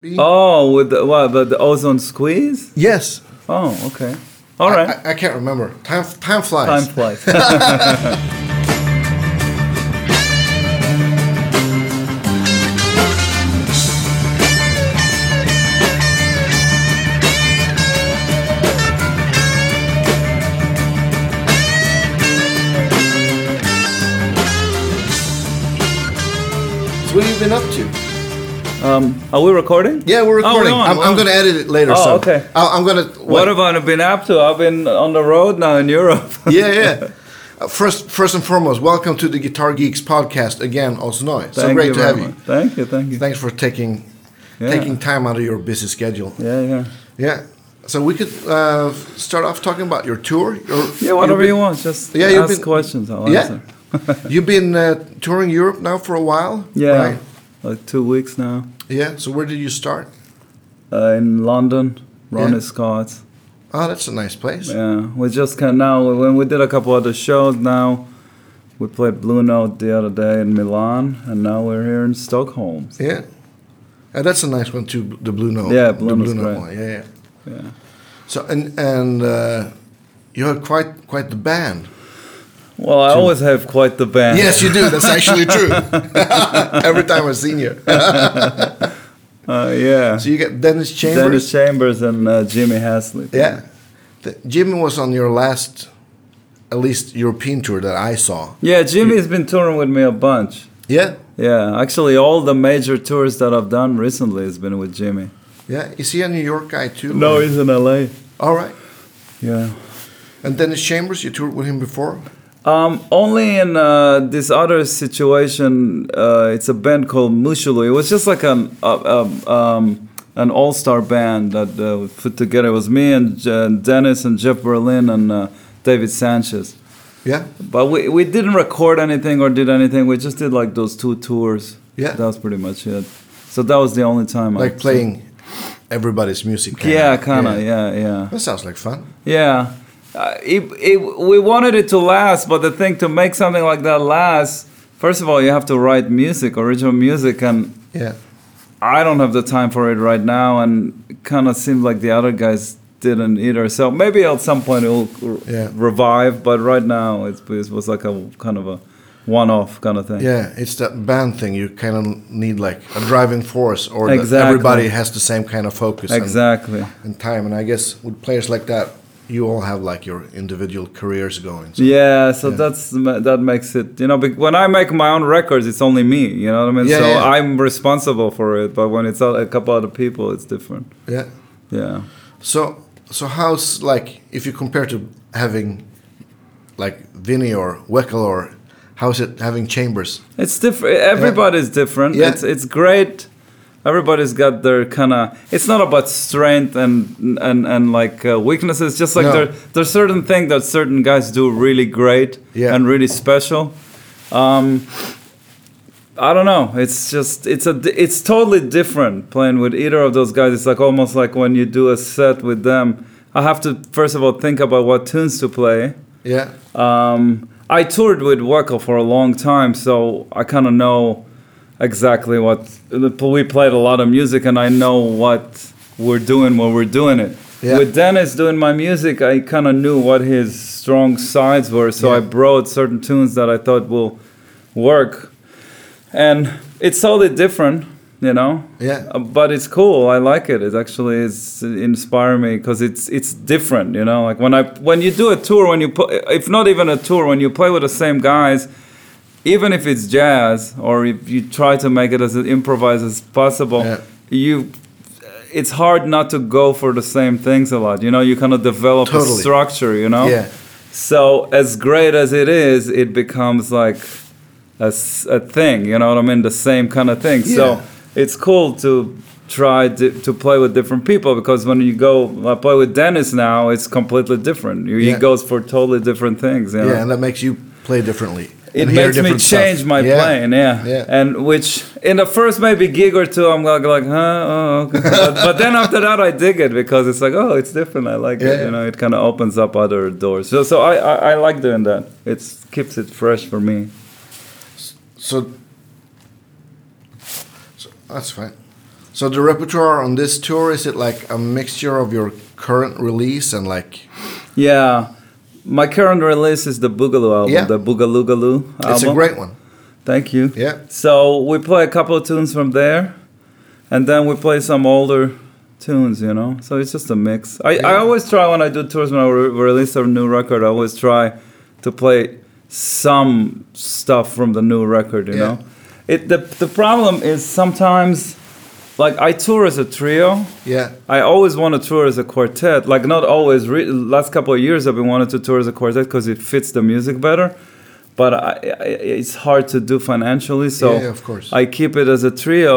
be? Oh, with the, what the, the ozone squeeze? Yes. Oh, okay. All right. I, I can't remember. Time time flies. Time flies. So what have you been up to? um, are we recording? Yeah, we're Oh, we're recording. on, I'm, we're I'm on. going to edit it later. Oh, so okay. I, I'm going to. What have I been up to? I've been on the road now in Europe. yeah, yeah. Uh, First, first and foremost, welcome to the Guitar Geeks podcast again, Osnoy. It's so Thank great to very have much. Thank you, thank you. you. Thanks for taking Yeah. taking time out of your busy schedule. yeah, yeah. Yeah. So we could uh, start off talking about your tour. Your, Yeah, whatever you you've want, just Yeah, you've ask been- questions. I'll been, answer. Yeah. you've been uh, touring Europe now for a while. Yeah, Right? like two weeks now Yeah. So where did you start? uh, in London. Ronnie Yeah. Scott. Oh, that's a nice place. Yeah, we just can now. When we did a couple other shows now, we played Blue Note the other day in Milan, and now we're here in Stockholm. Yeah. Uh, that's a nice one too, the Blue Note. Yeah, the Blue Note's great. one. Yeah, yeah. Yeah. So and and uh, you had quite quite the band. Well, I always have quite the band. Yes, you do. That's actually true. Every time I've seen you. Uh, yeah. So you get Dennis Chambers. Dennis Chambers and uh, Jimmy Haslett. Yeah. The, Jimmy was on your last, at least European tour that I saw. Yeah, Jimmy's been touring with me a bunch. Yeah. Yeah, actually, all the major tours that I've done recently has been with Jimmy. Yeah. Is he a New York guy too? No, Or- he's in LA. All right. Yeah. And Dennis Chambers, you toured with him before? Um, only in uh, this other situation, uh, it's a band called Mushulu. It was just like an uh, um, um, an all star band that uh, was put together. It was me and J- and Dennis and Jeff Berlin and uh, David Sanchez. Yeah. But we, we didn't record anything or did anything. We just did like those two tours. Yeah. That was pretty much it. So that was the only time Like playing everybody's music. kinda. Yeah, kind of. Yeah, yeah. That sounds like fun. Yeah, uh, it, it, we wanted it to last, but the thing to make something like that last, first of all, you have to write music, original music, and Yeah. I don't have the time for it right now, and kind of seems like the other guys didn't either. So maybe at some point it will r- Yeah. revive, but right now it's, it was like a kind of a one-off kind of thing. Yeah, it's that band thing. You kind of need like a driving force, or that Exactly. everybody has the same kind of focus and- Exactly. and, time. And I guess with players like that, you all have like your individual careers going. So. Yeah, so that's that makes it you know bec- when I make my own records, it's only me. You know what I mean? Yeah, so yeah. I'm responsible for it. But when it's a couple other people, it's different. Yeah. Yeah. So so how's like if you compare to having like Vinny or Weckel or how's it having Chambers? It's different. Everybody's different. Yeah. It's it's great. Everybody's got their kind of. It's not about strength and and and like uh, weaknesses. Just like No. there there's certain things that certain guys do really great Yeah. and really special. Um, I don't know. It's just it's a di- it's totally different playing with either of those guys. It's like almost like when you do a set with them. I have to first of all think about what tunes to play. Yeah. Um, I toured with Wacko for a long time, so I kind of know exactly what we played a lot of music, and I know what we're doing when we're doing it. Yeah. With Dennis doing my music, I kind of knew what his strong sides were, so I Yeah. brought certain tunes that I thought will work, and it's totally different, you know. Yeah. Uh, But it's cool. I like it. It actually is inspiring me because it's it's different, you know. Like when I when you do a tour, when you put, if not even a tour, when you play with the same guys, even if it's jazz or if you try to make it as improvised as possible, Yeah. you uh, it's hard not to go for the same things a lot. You know, you kind of develop Totally. a structure. You know. Yeah. So as great as it is, it becomes like a, s- a thing, you know what I mean? The same kind of thing. Yeah. So it's cool to try di- to play with different people because when you go I play with Dennis now, it's completely different. You- He Yeah. goes for totally different things. You know? Yeah, and that makes you play differently. it and hear makes me different stuff. change my Yeah. playing, yeah. Yeah. And which in the first maybe gig or two, I'm like, like huh, oh, okay. but, but then after that, I dig it because it's like, oh, it's different. I like it. Yeah. You know, it kind of opens up other doors. So, so I, I, I like doing that. It keeps it fresh for me. So, so that's fine. So the repertoire on this tour is it like a mixture of your current release and like Yeah. My current release is the Boogaloo album, Yeah. the Boogaloogaloo album. it's a great one. Thank you. Yeah. So we play a couple of tunes from there, and then we play some older tunes, you know. So it's just a mix. I, I Yeah. always try when I do tours when I re- release a new record. I always try to play some stuff from the new record, you Yeah. know. It the the problem is sometimes, like I tour as a trio, Yeah. I always want to tour as a quartet. Like not always. Re- last couple of years, I've been wanting to tour as a quartet because it fits the music better. But I, I, it's hard to do financially, so Yeah, yeah, of course. I keep it as a trio.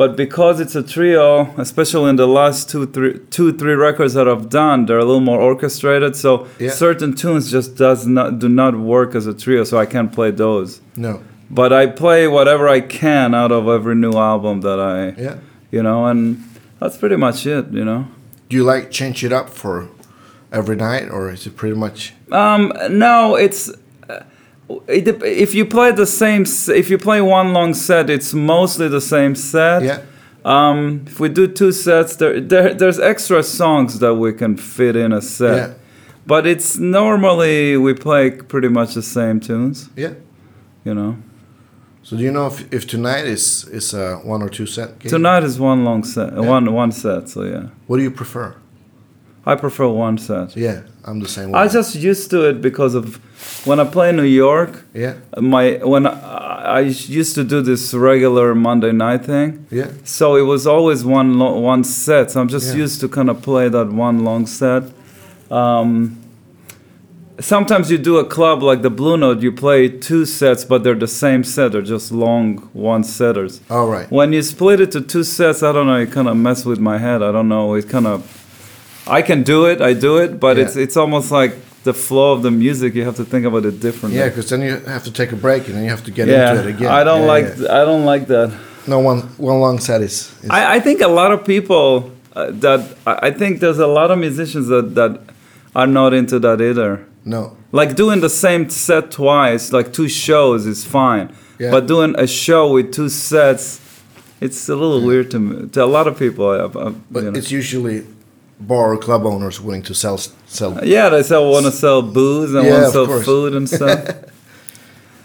But because it's a trio, especially in the last two, three, two, three records that I've done, they're a little more orchestrated. So Yeah. certain tunes just does not do not work as a trio, so I can't play those. No. But I play whatever I can out of every new album that I Yeah. you know, and that's pretty much it, you know. Do you like change it up for every night or is it pretty much Um, no, it's uh, it, dep- if you play the same, s- if you play one long set, it's mostly the same set. Yeah. Um, if we do two sets, there, there there's extra songs that we can fit in a set. Yeah. But it's normally we play pretty much the same tunes, Yeah. you know. So do you know if, if tonight is is a one or two set gig? Tonight is one long set, Yeah. one one set. So yeah, What do you prefer? I prefer one set. Yeah, I'm the same way. I just used to it because of when I play in New York. yeah. my when I, I used to do this regular Monday night thing, Yeah. so it was always one lo- one set. So I'm just Yeah. used to kind of play that one long set. Um, sometimes you do a club like the Blue Note, you play two sets, but they're the same set. They're just long one setters. All right. When you split it to two sets, I don't know. It kind of mess with my head. I don't know. It kind of, I can do it. I do it, but Yeah. it's it's almost like the flow of the music. You have to think about it differently. Yeah, because then you have to take a break and then you have to get Yeah, into it again. I don't Yeah, like yeah. th- I don't like that. No one one long set is. is I, I think a lot of people uh, that I I think there's a lot of musicians that that are not into that either. no. Like doing the same set twice, like two shows, is fine. Yeah. But doing a show with two sets, it's a little weird to me. To a lot of people, I, I, But you know. it's usually bar or club owners willing to sell sell. yeah, they sell want to sell booze and Yeah, want to of sell course. food and stuff.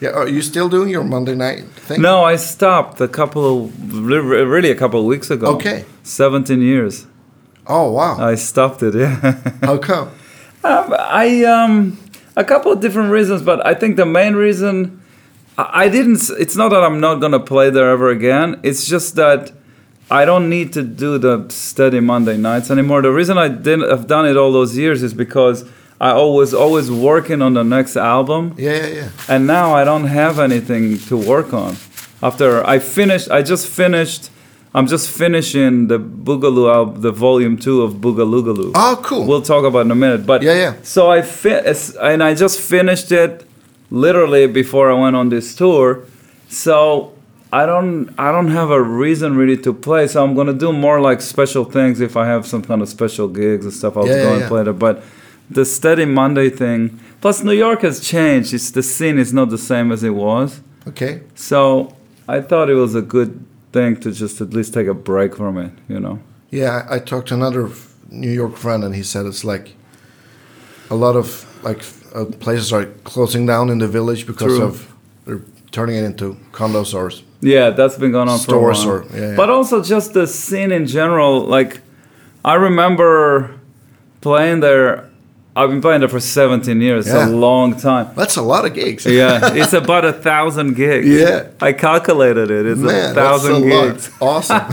Yeah, are you still doing your Monday night thing? no, I stopped a couple of re- really a couple of weeks ago. Okay. seventeen years. Oh wow. I stopped it. Yeah. How come? Um, I um, a couple of different reasons, but I think the main reason I, I didn't. s- It's not that I'm not gonna play there ever again. It's just that I don't need to do the steady Monday nights anymore. The reason I didn't have done it all those years is because I always always working on the next album Yeah, yeah, yeah. and now I don't have anything to work on. After I finished, I just finished. I'm just finishing the Boogaloo, album, the volume two of Boogaloogaloo. Oh, cool. We'll talk about in a minute, but Yeah, yeah. So I fi- it's- and I just finished it literally before I went on this tour. So I don't, I don't have a reason really to play. So I'm gonna do more like special things if I have some kind of special gigs and stuff. I'll Yeah, go yeah, and yeah. play there, but. The steady Monday thing. Plus, New York has changed. It's the scene is not the same as it was. Okay. So I thought it was a good thing to just at least take a break from it. You know. Yeah, I, I talked to another f- New York friend, and he said it's like a lot of like f- uh, places are closing down in the village because True. of they're turning it into condos or s- Yeah, that's been going on Stores for a or- while. yeah, yeah. But also just the scene in general. Like, I remember playing there. I've been playing there for 17 years. It's Yeah. a long time. that's a lot of gigs. Yeah, it's about a thousand gigs. Yeah. I calculated it. It's man, a thousand that's a gigs. lot. Awesome.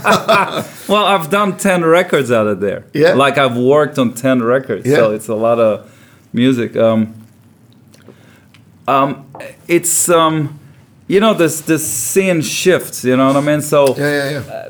Well, I've done 10 records out of there. Yeah. Like I've worked on 10 records. So Yeah. it's a lot of music. Um, um, it's, um, you know, this, this scene shifts, you know what I mean? So yeah, yeah, yeah.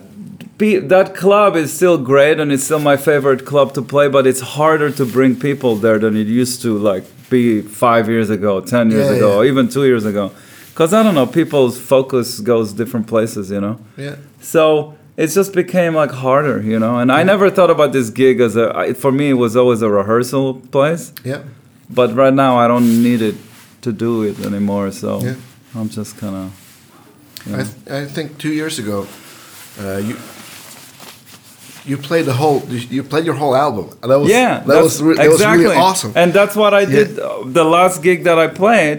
pe- that club is still great and it's still my favorite club to play, but it's harder to bring people there than it used to, like be five years ago, 10 years Yeah, ago, yeah. or even two years ago. Because I don't know, people's focus goes different places, you know? yeah. So it just became like harder, you know. And I never thought about this gig as a. I- For me, it was always a rehearsal place. Yeah. But right now, I don't need it to do it anymore. So Yeah. I'm just kind of. Mm. I, th- I think two years ago, uh, you you played the whole you, you played your whole album. And That was yeah, that was re- that was really awesome. And that's what I did. uh, The last gig that I played,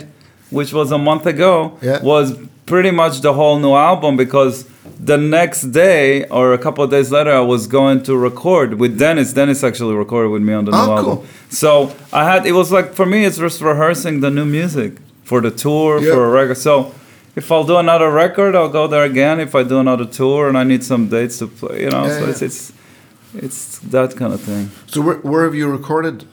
which was a month ago, Yeah. was pretty much the whole new album because the next day or a couple of days later, I was going to record with Dennis. Dennis actually recorded with me on the new Oh, cool. album. So I had it was like for me, it's just rehearsing the new music for the tour Yeah. for a record. So. If I'll do another record, I'll go there again. If I do another tour and I need some dates to play, you know, Yeah, so yeah. it's it's it's that kind of thing. so where, where have you recorded?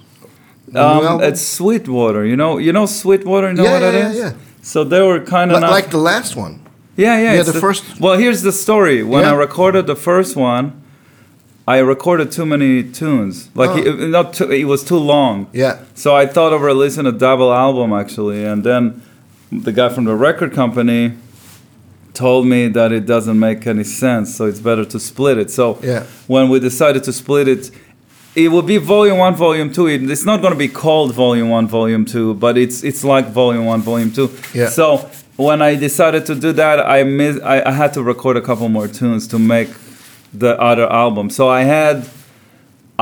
the new Um, album? it's Sweetwater. You know, you know Sweetwater. You know Yeah, what yeah, that yeah, is? yeah. So they were kind Li- of like, not. the last one. yeah, yeah. yeah, it's the first- Well, here's the story. When I Yeah. recorded the first one, I recorded too many tunes. Like Oh. it, not too, it was too long. Yeah, So I thought of releasing a double album actually, and then the guy from the record company told me that it doesn't make any sense, so it's better to split it. So Yeah. when we decided to split it, it will be volume one, volume two. It, it's not going to be called volume one, volume two, but it's it's like volume one, volume two. Yeah. So when I decided to do that, I miss I, I had to record a couple more tunes to make the other album. So I had.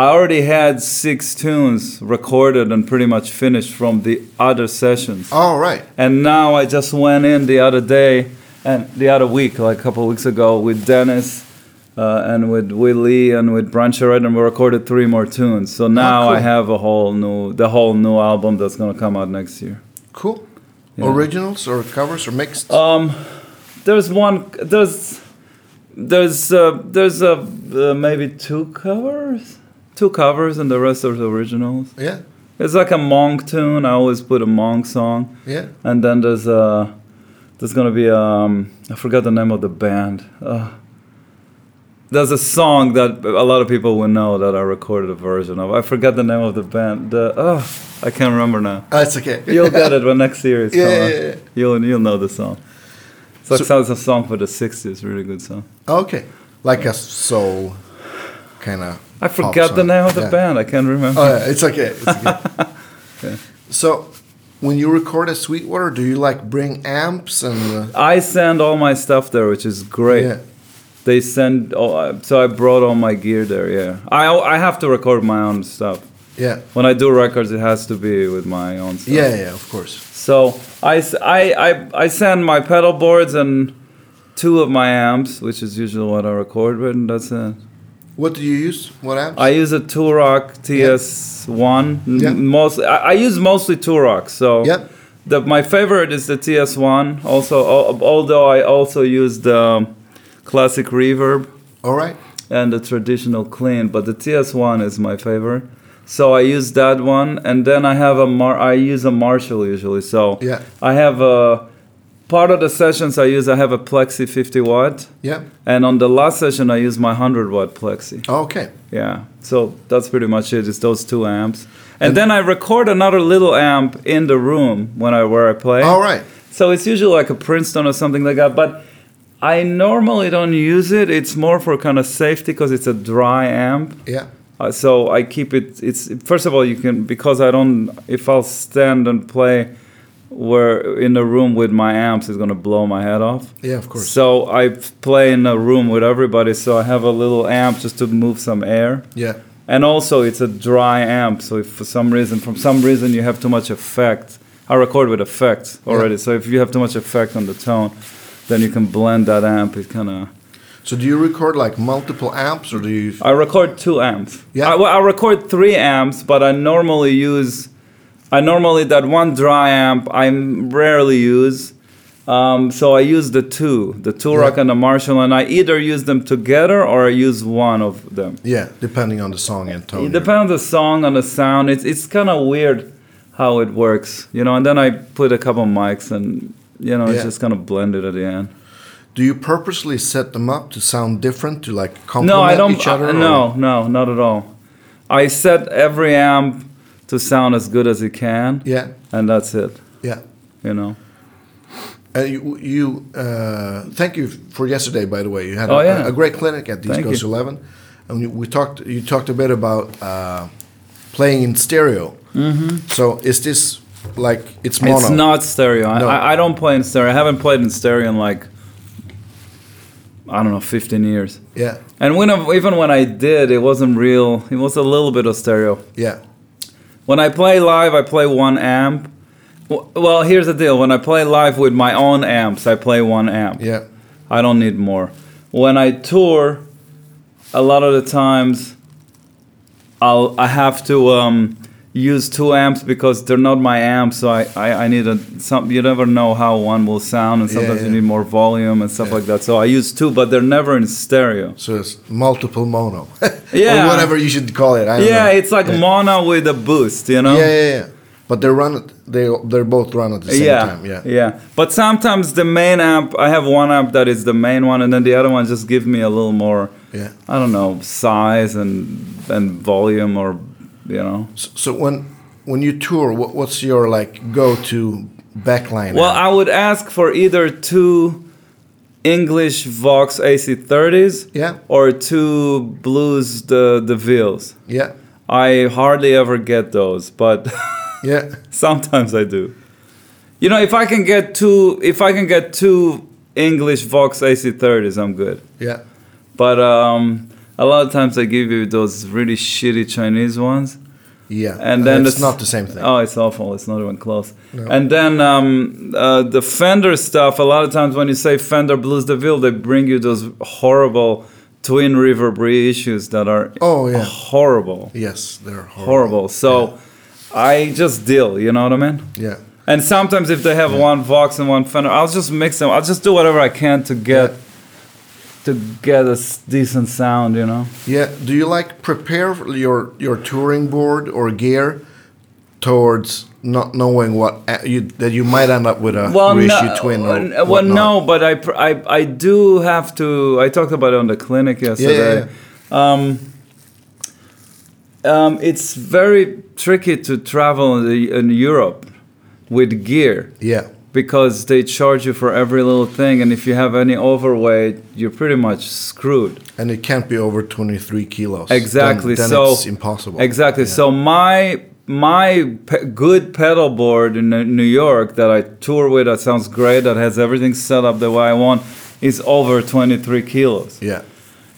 I already had six tunes recorded and pretty much finished from the other sessions. all right. And now I just went in the other day and the other week, like a couple of weeks ago, with Dennis uh, and with Willie and with Brancheret, and we recorded three more tunes. So now cool. I have a whole new, the whole new album that's gonna come out next year. Cool. Yeah. Originals or covers or mixed? Um, there's one. There's there's uh, there's uh, uh, maybe two covers, two covers, and the rest are the originals. yeah, It's like a monk tune. I always put a monk song, yeah. and then there's uh there's gonna be um I forgot the name of the band. Uh, there's a song that a lot of people will know that I recorded a version of. I forgot the name of the band. The uh, I can't remember now. Oh, it's okay. You'll get it when next year is Yeah, coming. yeah, yeah. You'll you'll know the song. It's like So- sounds a song for the '60s. Really good song. okay, like a soul kind of. I forgot the name of the band. I can't remember. Oh, yeah, it's okay. It's okay. So, when you record at Sweetwater, do you like bring amps and? Uh, I send all my stuff there, which is great. Yeah. They send all, uh, so I brought all my gear there. Yeah, I I have to record my own stuff. Yeah. When I do records, it has to be with my own stuff. Yeah, yeah, of course. So I, s- I, I- I send my pedal boards and two of my amps, which is usually what I record with, and that's it. What do you use? What amps? I use a Turok TS1. n- Yeah. Mostly, I, I use mostly Turok. So Yeah. the, my favorite is the TS1. Also, al- although I also use the classic reverb All right. and the traditional clean, but the TS1 is my favorite. So I use that one, and then I have a Mar- I use a Marshall usually. So Yeah. I have a part of the sessions I use. I have a Plexi 50 watt, Yeah. and on the last session I use my 100 watt Plexi. Okay. Yeah, so that's pretty much it. It's those two amps, and, then I record another little amp in the room when I where I play. All right. So it's usually like a Princeton or something like that, but I normally don't use it. It's more for kind of safety because it's a dry amp. Yeah. Uh, so I keep it. It's first of all you can because I don't. If I'll stand and play where in a room with my amps, it's gonna blow my head off. Yeah, of course. So I play in a room with everybody. So I have a little amp just to move some air. Yeah. And also, it's a dry amp, so if for some reason, from some reason, you have too much effect. I record with effects already, so if you have too much effect on the tone, then you can blend that amp. It kind of. So do you record like multiple amps or do you I record two amps. Yeah. I, well, I record three amps, but I normally use. I normally that one dry amp I rarely use. Um, so I use the two, the Turok Yeah. and the Marshall, and I either use them together or I use one of them. Yeah, depending on the song and tone. It depends on the song, on the sound. It's it's kind of weird how it works, you know. And then I put a couple mics, and you know, it's Yeah. just kind of blended at the end. Do you purposely set them up to sound different to like complement No, I don't. each other? I- or- no, no, not at all. I set every amp to sound as good as it can, Yeah, and that's it. yeah. You know. Uh, you, you uh, thank you for yesterday, by the way. You had Oh, a, yeah. a great clinic at East Thank Coast you. Eleven, and you- we talked. You talked a bit about uh, playing in stereo. Mm-hmm. So is this like it's mono? It's not stereo. I No. I, I don't play in stereo. I haven't played in stereo in like I don't know, 15 years. Yeah. And when I, even when I did, it wasn't real. It was a little bit of stereo. Yeah. When I play live, I play one amp. W- Well, here's the deal. When I play live with my own amps, I play one amp. Yeah. I don't need more. When I tour, a lot of the times, I'll I have to um, use two amps because they're not my amps. So I, I, I need a some. You never know how one will sound, and Yeah, sometimes yeah. you need more volume and stuff Yeah. like that. So I use two, but they're never in stereo. So it's multiple mono. Yeah. or whatever you should call it. I don't Yeah, know. it's like mono with a boost, you know. Yeah, yeah, yeah. But they run. at- They they're both run at the same yeah, time. Yeah. But sometimes the main amp, I have one amp that is the main one, and then the other one just give me a little more. Yeah. I don't know size and and volume or you know. So, so when when you tour, what, what's your like go to backline? Well, amp? I would ask for either two English Vox AC30s Yeah. or two Blues the the Vils. yeah, I hardly ever get those, but yeah, Sometimes I do. You know, if I can get two, if I can get two English Vox AC30s, I'm good. yeah, But um, a lot of times they give you those really shitty Chinese ones, yeah. and then it's the- not the same thing. Oh, it's awful. It's not even close. No. And then um, uh, the Fender stuff. A lot of times when you say Fender Blues DeVille, they bring you those horrible twin reverb reissues that are Oh, yeah. horrible, yes, they're horrible. horrible. So I just deal. You know what I mean? Yeah, And sometimes if they have one Vox and one Fender, I'll just mix them. I'll just do whatever I can to get to get a s- decent sound, you know. yeah. Do you like prepare your your touring board or gear towards not knowing what a- you that you might end up with a Well, reissue no, uh, twin or well, whatnot? no, but I, pr- I I do have to. I talked about it on the clinic yesterday. Um, um, it's very tricky to travel in, the, in Europe with gear Yeah, because they charge you for every little thing, and if you have any overweight, you're pretty much screwed. and it can't be over twenty three kilos. Then- Exactly. Then, so it's impossible. Exactly. So my my pe- good pedal board in uh, New York that I tour with that sounds great that has everything set up the way I want is over 23 kilos. Yeah,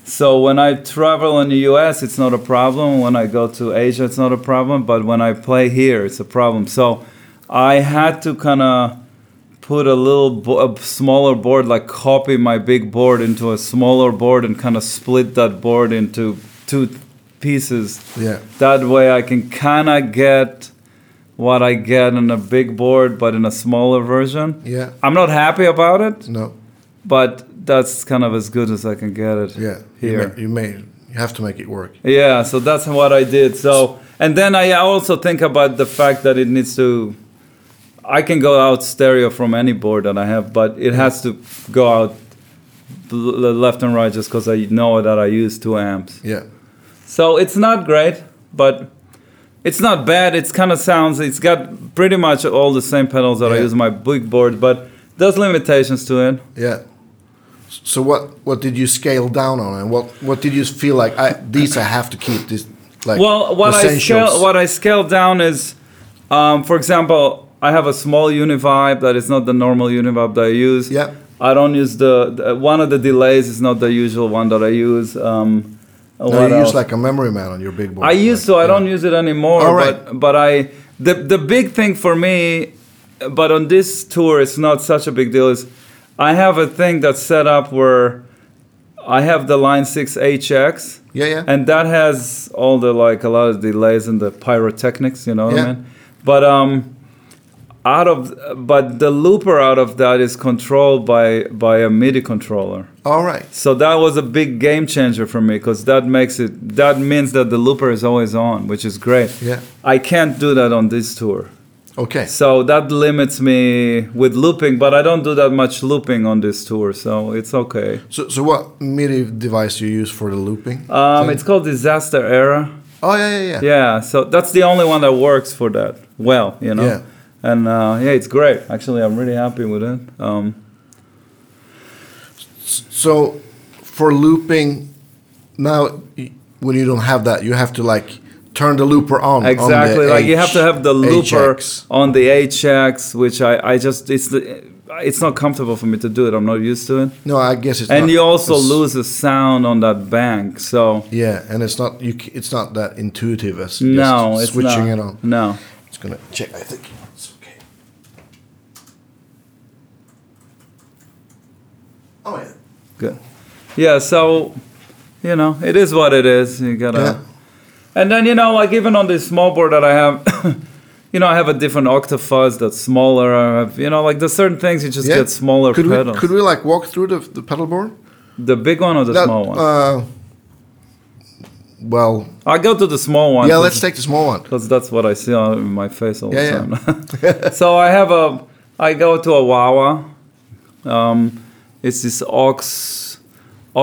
So when I travel in the U.S., it's not a problem. When I go to Asia, it's not a problem. But when I play here, it's a problem. So I had to kind of put a little bo- a smaller board, like copy my big board into a smaller board, and kind of split that board into two pieces. yeah, That way, I can kind of get what I get in a big board, but in a smaller version. yeah. I'm not happy about it, No. but that's kind of as good as I can get it. Yeah, Here. You may, you may you have to make it work. Yeah, so that's what I did. So, and then I also think about the fact that it needs to. I can go out stereo from any board that I have, but it has to go out l- left and right just because I know that I use two amps. Yeah, So it's not great, but it's not bad. It's kind of sounds. It's got pretty much all the same pedals that I Yeah. use on my big board, but there's limitations to it. yeah. So what what did you scale down on, and what what did you feel like? I these I have to keep this like well what I essentials. scale what I scale down is um, for example I have a small univibe that is not the normal univibe that I use Yeah. I don't use the, the one of the delays is not the usual one that I use um, No, what you else? use like a memory man on your big board. I used to. like, I yeah. don't use it anymore. All But but I the the big thing for me, but on this tour it's not such a big deal. Is I have a thing that's set up where I have the Line Six HX. Yeah, yeah. And that has all the like a lot of delays and the pyrotechnics. You know what Yeah. I mean? But um. Out of but the looper out of that is controlled by by a MIDI controller. All right. So that was a big game changer for me because that makes it that means that the looper is always on, which is great. Yeah. I can't do that on this tour. Okay. So that limits me with looping, but I don't do that much looping on this tour, so it's okay. So so what MIDI device you use for the looping? Um, thing? it's called Disaster Era. oh yeah yeah yeah. Yeah, so that's the only one that works for that well, you know. Yeah. And uh, yeah, it's great. Actually, I'm really happy with it. Um, So for looping now y- when you don't have that, you have to like turn the looper on. on the Exactly. like you have to have the looper HX. on the HX, which I, I just it's the it's not comfortable for me to do it. I'm not used to it. No, I guess it's. And not- you also it's- lose the sound on that bank. So Yeah, and it's not you. c- It's not that intuitive as no, just it's switching not. it on. No. It's gonna check. I think it's okay. Oh yeah. Good. Yeah, so you know, it is what it is. You gotta Yeah. And then you know, like even on this small board that I have you know, I have a different octafuzz that's smaller. I have you know, like there's certain things you just Yeah. get smaller could pedals. We, could we like walk through the the pedal board? the big one or the That, small one? Uh, well, I go to the small one. uh, yeah. 'cause- Let's take the small one. Because that's what I see on my face all Yeah, the time. so I have a, I go to a Wawa. Um, it's this Ox,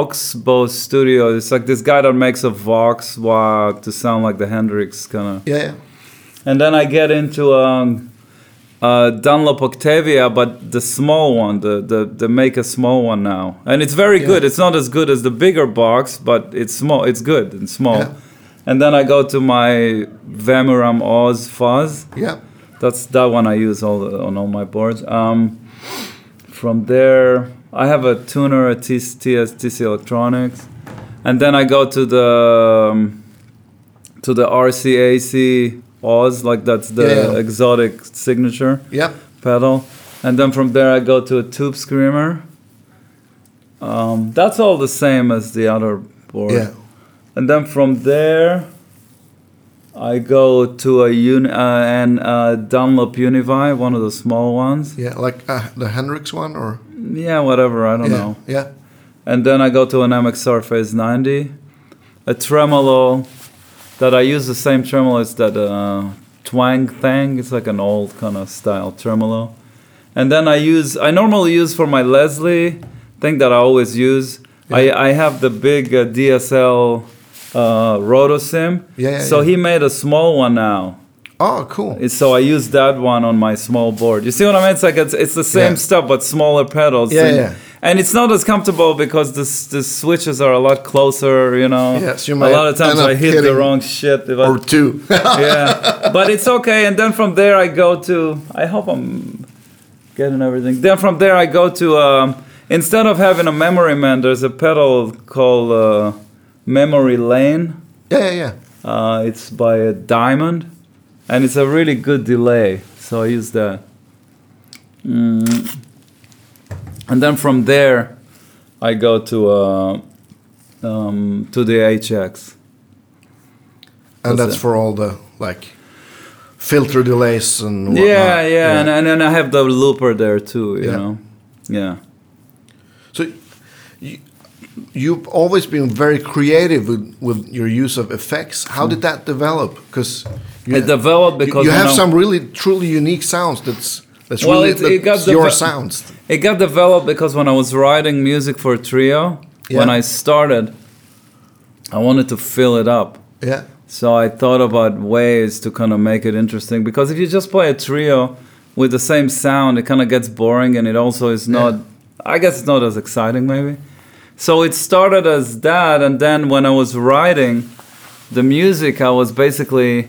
Oxbow Studio. It's like this guy that makes a Vox Wah to sound like the Hendrix kind of. Yeah, yeah. And then I get into um, uh, Dunlop Octavia, but the small one, the, the, the make a small one now. And it's very good. It's not as good as the bigger box, but it's small. It's good and small. Yeah. And then I go to my Vamuram Oz Fuzz. yeah. That's that one I use all the, on all my boards. Um, from there, I have a tuner at TS, TSTC Electronics, and then I go to the um, to the RCAC Oz, like that's the Yeah, yeah. exotic signature Yeah. pedal, and then from there I go to a Tube Screamer. Um, that's all the same as the other board. Yeah. And then from there, I go to a un- uh, an uh, Dunlop Univi, one of the small ones. Yeah, like uh, the Hendrix one, or Yeah, whatever, I don't yeah, know. yeah, And then I go to an MXR Phase 90, a tremolo that I use the same tremolo as that uh, twang thing. It's like an old kind of style tremolo. And then I use, I normally use for my Leslie thing that I always use. I, I have the big uh, DSL uh, Rotosim. Yeah, yeah, so yeah. he made a small one now. Oh, cool. It's- So I use that one on my small board. You see what I mean? It's like it's, it's the same Yeah. stuff but smaller pedals. Yeah, and, yeah. and it's not as comfortable because the s- the switches are a lot closer. You know. Yes, you a might lot of times end I up hit the hitting- wrong shit. If I, or two. yeah, but it's okay. And then from there I go to. I hope I'm getting everything. Then from there I go to. Um, instead of having a memory man, there's a pedal called uh, Memory Lane. yeah, yeah, yeah. Uh, it's by a diamond, and it's a really good delay. So I use that. Mm. And then from there, I go to uh, um, to the HX. That's And that's, it. for all the like filter delays and whatnot. yeah, yeah, And, and then I have the looper there too. You Yeah. know, yeah. so you, you've always been very creative with, with your use of effects. How did that develop? Because you, It developed you- because you you have know- some really truly unique sounds. That's that's Well, really it- it got that's your devel- sounds. It got developed because when I was writing music for trio, when Yeah. I started, I wanted to fill it up. Yeah, So I thought about ways to kind of make it interesting because if you just play a trio with the same sound, it kind of gets boring and it also is not, I guess it's not as exciting maybe. So it started as that, and then when I was writing the music, I was basically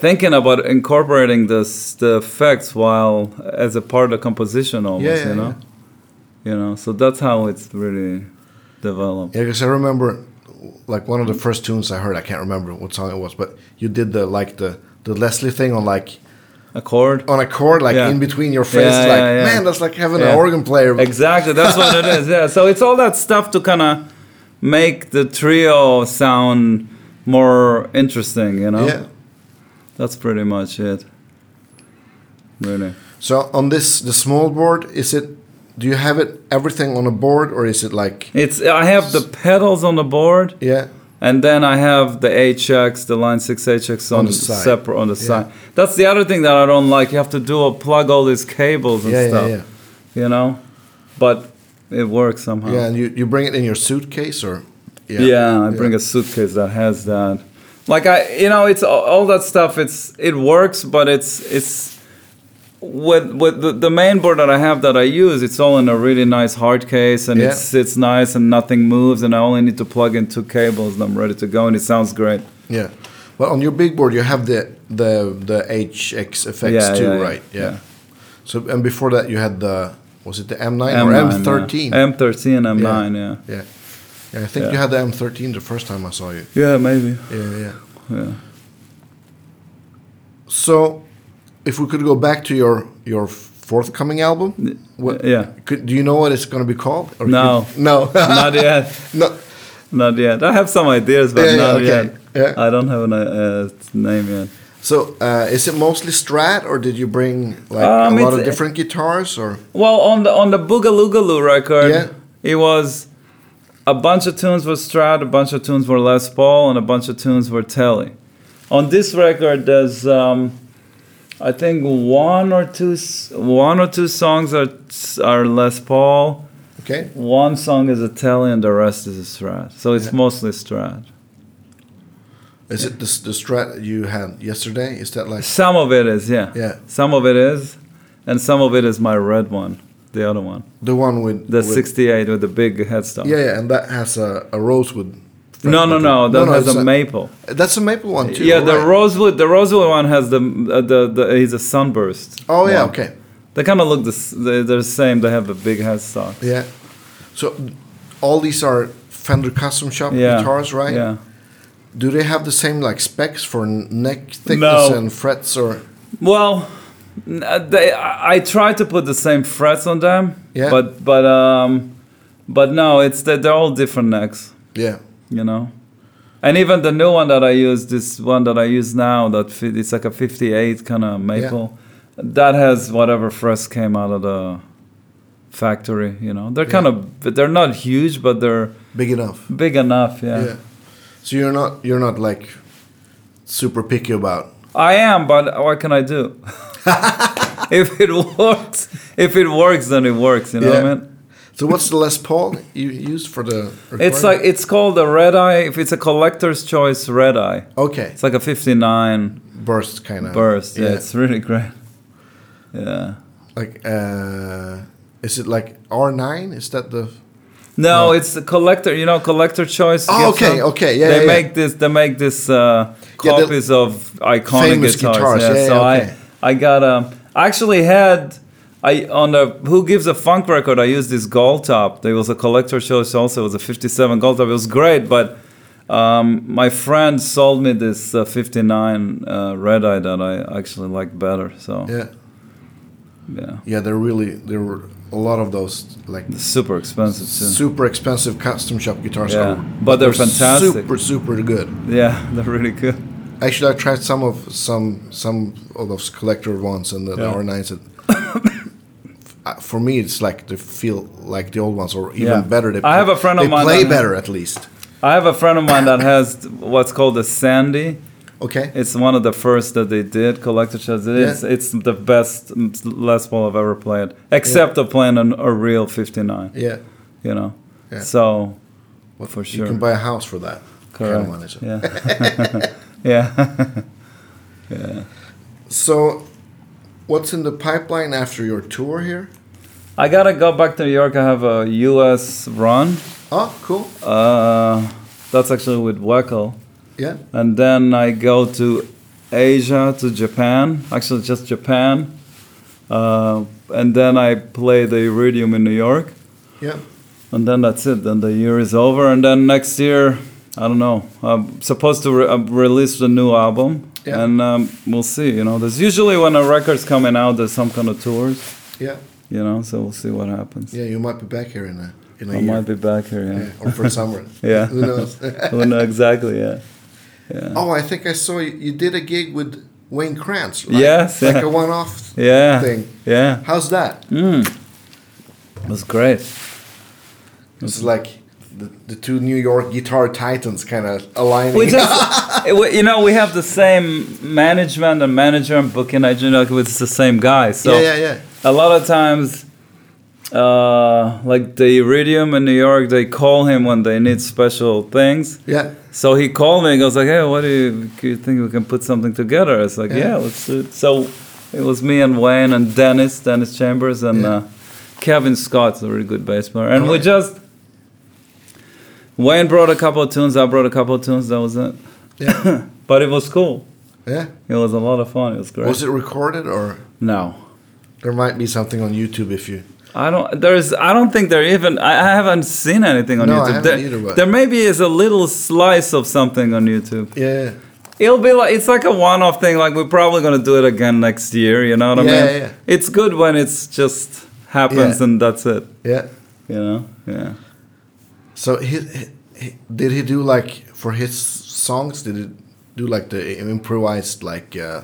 thinking about incorporating this the effects while as a part of the composition almost, Yeah, yeah, you know? You know, so that's how it's really developed. yeah. Because I remember like one of the first tunes I heard. I can't remember what song it was, but you did the like the the Leslie thing on like A chord. on a chord, like Yeah. in between your face. Yeah, like, yeah, yeah. man, that's like having Yeah. an organ player. Exactly, that's what it is. Yeah, so it's all that stuff to kind of make the trio sound more interesting. You know, Yeah. that's pretty much it. Really, So on this, the small board, is it? Do you have it everything on a board, or is it like? it's I have the pedals on the board, Yeah, and then I have the HX, the Line Six HX on, the side. separate on the side. That's the other thing that I don't like. You have to do a plug all these cables and yeah, yeah, stuff. yeah, You know, but it works somehow. yeah. And you, you bring it in your suitcase, or? Yeah, I bring a suitcase that has that. Like I, you know, it's all, all that stuff. It's it works, but it's it's with with the, the main board that I have that I use. It's all in a really nice hard case, and Yeah. it sits nice, and nothing moves, and I only need to plug in two cables, and I'm ready to go, and it sounds great. yeah. Well, on your big board, you have the the the HX effects Yeah, too, yeah, yeah, right? Yeah. yeah. So and before that you had the was it the M9, M9, or M13? yeah. M13, M9, yeah. yeah. Yeah, I think Yeah. you had the M13 the first time I saw you. Yeah, maybe. Yeah, yeah. Yeah. So, if we could go back to your your forthcoming album, what, uh, yeah. could, do you know what it's going to be called? Or No. you- no, Not yet. no. Not yet. I have some ideas, but Yeah, yeah, not okay. yet. Yeah. I don't have a uh, name yet. So, uh, is it mostly Strat, or did you bring like Um, a lot it's- of different guitars? Or Well, on the on the Boogaloogaloo record, Yeah. it was a bunch of tunes were Strat, a bunch of tunes were Les Paul, and a bunch of tunes were Telly. On this record, there's um, I think one or two s- one or two songs are are Les Paul. okay, One song is a Telly, and the rest is a Strat. So it's mostly Strat. is it the, s- the Strat you had yesterday? Is that like Some of it is, yeah. Yeah. Some of it is, and some of it is my red one, the other one, the one with the with- 68 with the big headstone. Yeah, yeah, and that has a, a rosewood. No, no, no. That has it's a maple. That's a maple one too. yeah, the right. rosewood. The rosewood one has the uh, the the. He's a sunburst. Oh yeah, one. okay, They kind of look the s- they- they're the same. They have a big headstock. yeah. So, all these are Fender custom shop Yeah. guitars, right? Yeah. Do they have the same like specs for n- neck thickness No. and frets or Well, n- uh, they, I, I try to put the same frets on them. Yeah. But but um, but no, it's that they're all different necks. yeah? you know and even the new one that i use this one that i use now that fit, it's like a 58 kind of maple that has whatever first came out of the factory you know they're kind of but they're not huge but they're Big enough. big enough yeah. Yeah. So you're not you're not like super picky about. i am but what can i do if it works if it works then it works you know what i Yeah. mean So what's the Les Paul you used for the? it's recording? like it's called a red eye if it's a collector's choice red eye okay it's like a 59 burst kind of burst yeah it's really great yeah like uh, is it like R nine? Is that the? No, it's the collector. You know, collector choice. Oh, gives okay, them- okay, yeah, They yeah, yeah. make this. They make this uh, Yeah, the copies of iconic famous guitars. guitars, yeah, so yeah, okay. I, I got um. I actually had. I on the Who Gives a Funk record. I used this gold top. There was a collector choice. Also, it was a '57 gold top. It was great, but. Um, my friend sold me this uh, 59 uh, red eye that I actually like better. So yeah, Yeah, yeah. They're really there were a lot of those like super expensive too. super expensive custom shop guitars. Yeah, are- but they're fantastic. Super super good. Yeah, they're really good. Actually, I tried some of some some of those collector ones and the Yeah. R nines. uh, For me, it's like they feel like the old ones, or even Yeah. better. They I have a friend of they mine play that- better at least. I have a friend of mine that has what's called a Sandy. Okay. It's one of the first that they did, collector shots. It is- Yeah. It's the best mm, Les Paul I've ever played, except of playing an, a real 59, yeah. you know? Yeah. So, Well, for You sure. can buy a house for that. kind of correct. one, is it? yeah. yeah. yeah. So, what's in the pipeline after your tour here? I gotta go back to New York. I have a US run. Oh, cool. Uh, that's actually with Wackel. Yeah. and then I go to Asia to Japan, actually just Japan, uh, and then I play the Iridium in New York, Yeah. and then that's it. Then the year is over, and then next year, I don't know. I'm supposed to re- uh, release the new album, Yeah. and um, we'll see. You know, there's usually when a record's coming out, there's some kind of tours. Yeah. You know, so we'll see what happens. Yeah. You might be back here in a in a I year. might be back here. Yeah. Yeah, or for summer. Yeah. Who knows? Who know exactly? Yeah. Oh, I think I saw you, you did a gig with Wayne Krantz. Right? Yes, Like yeah. a one off Yeah. thing. Yeah. How's that? It was great. It's like the, the two New York guitar titans kind of aligning. we just, it- we- you know, we have the same management and manager and booking agent. Like it's the same guy. So yeah, yeah, yeah. a lot of times, uh, like the Iridium in New York, they call him when they need special things. Yeah. So he called me and goes like, "Hey, what do you, do you think we can put something together?" It's like, Yeah. "Yeah, let's do it." So it was me and Wayne and Dennis, Dennis Chambers, and Yeah. uh, Kevin Scott's a really good bass player, and we Alright. just Wayne brought a couple of tunes, I brought a couple of tunes. That was it. Yeah. but it was cool. Yeah. It was a lot of fun. It was great. Was it recorded or? No, There might be something on YouTube if you. I don't. There's. I don't think there even. I, I haven't seen anything on No, I YouTube. haven't there, either, but- there maybe is a little slice of something on YouTube. Yeah. It'll be like it's like a one-off thing. Like we're probably gonna do it again next year. You know what I Yeah, mean? yeah. It's good when it's just happens Yeah. and that's it. Yeah. You know? Yeah. So he, he, he- did he do like for his songs? Did he do like the improvised like? Uh,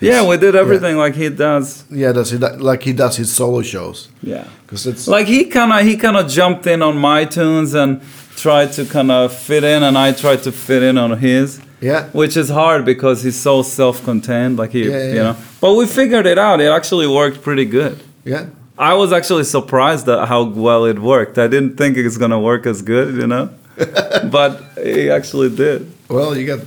Yeah, we did everything like he does. yeah, does he do- like he does his solo shows? Yeah. Because it's Like he kind of he kind of jumped in on my tunes and tried to kind of fit in, and I tried to fit in on his. yeah, which is hard because he's so self-contained like he Yeah, yeah, you yeah. know but we figured it out it actually worked pretty good yeah. i was actually surprised at how well it worked i didn't think it was going to work as good you know but it actually did Well, you got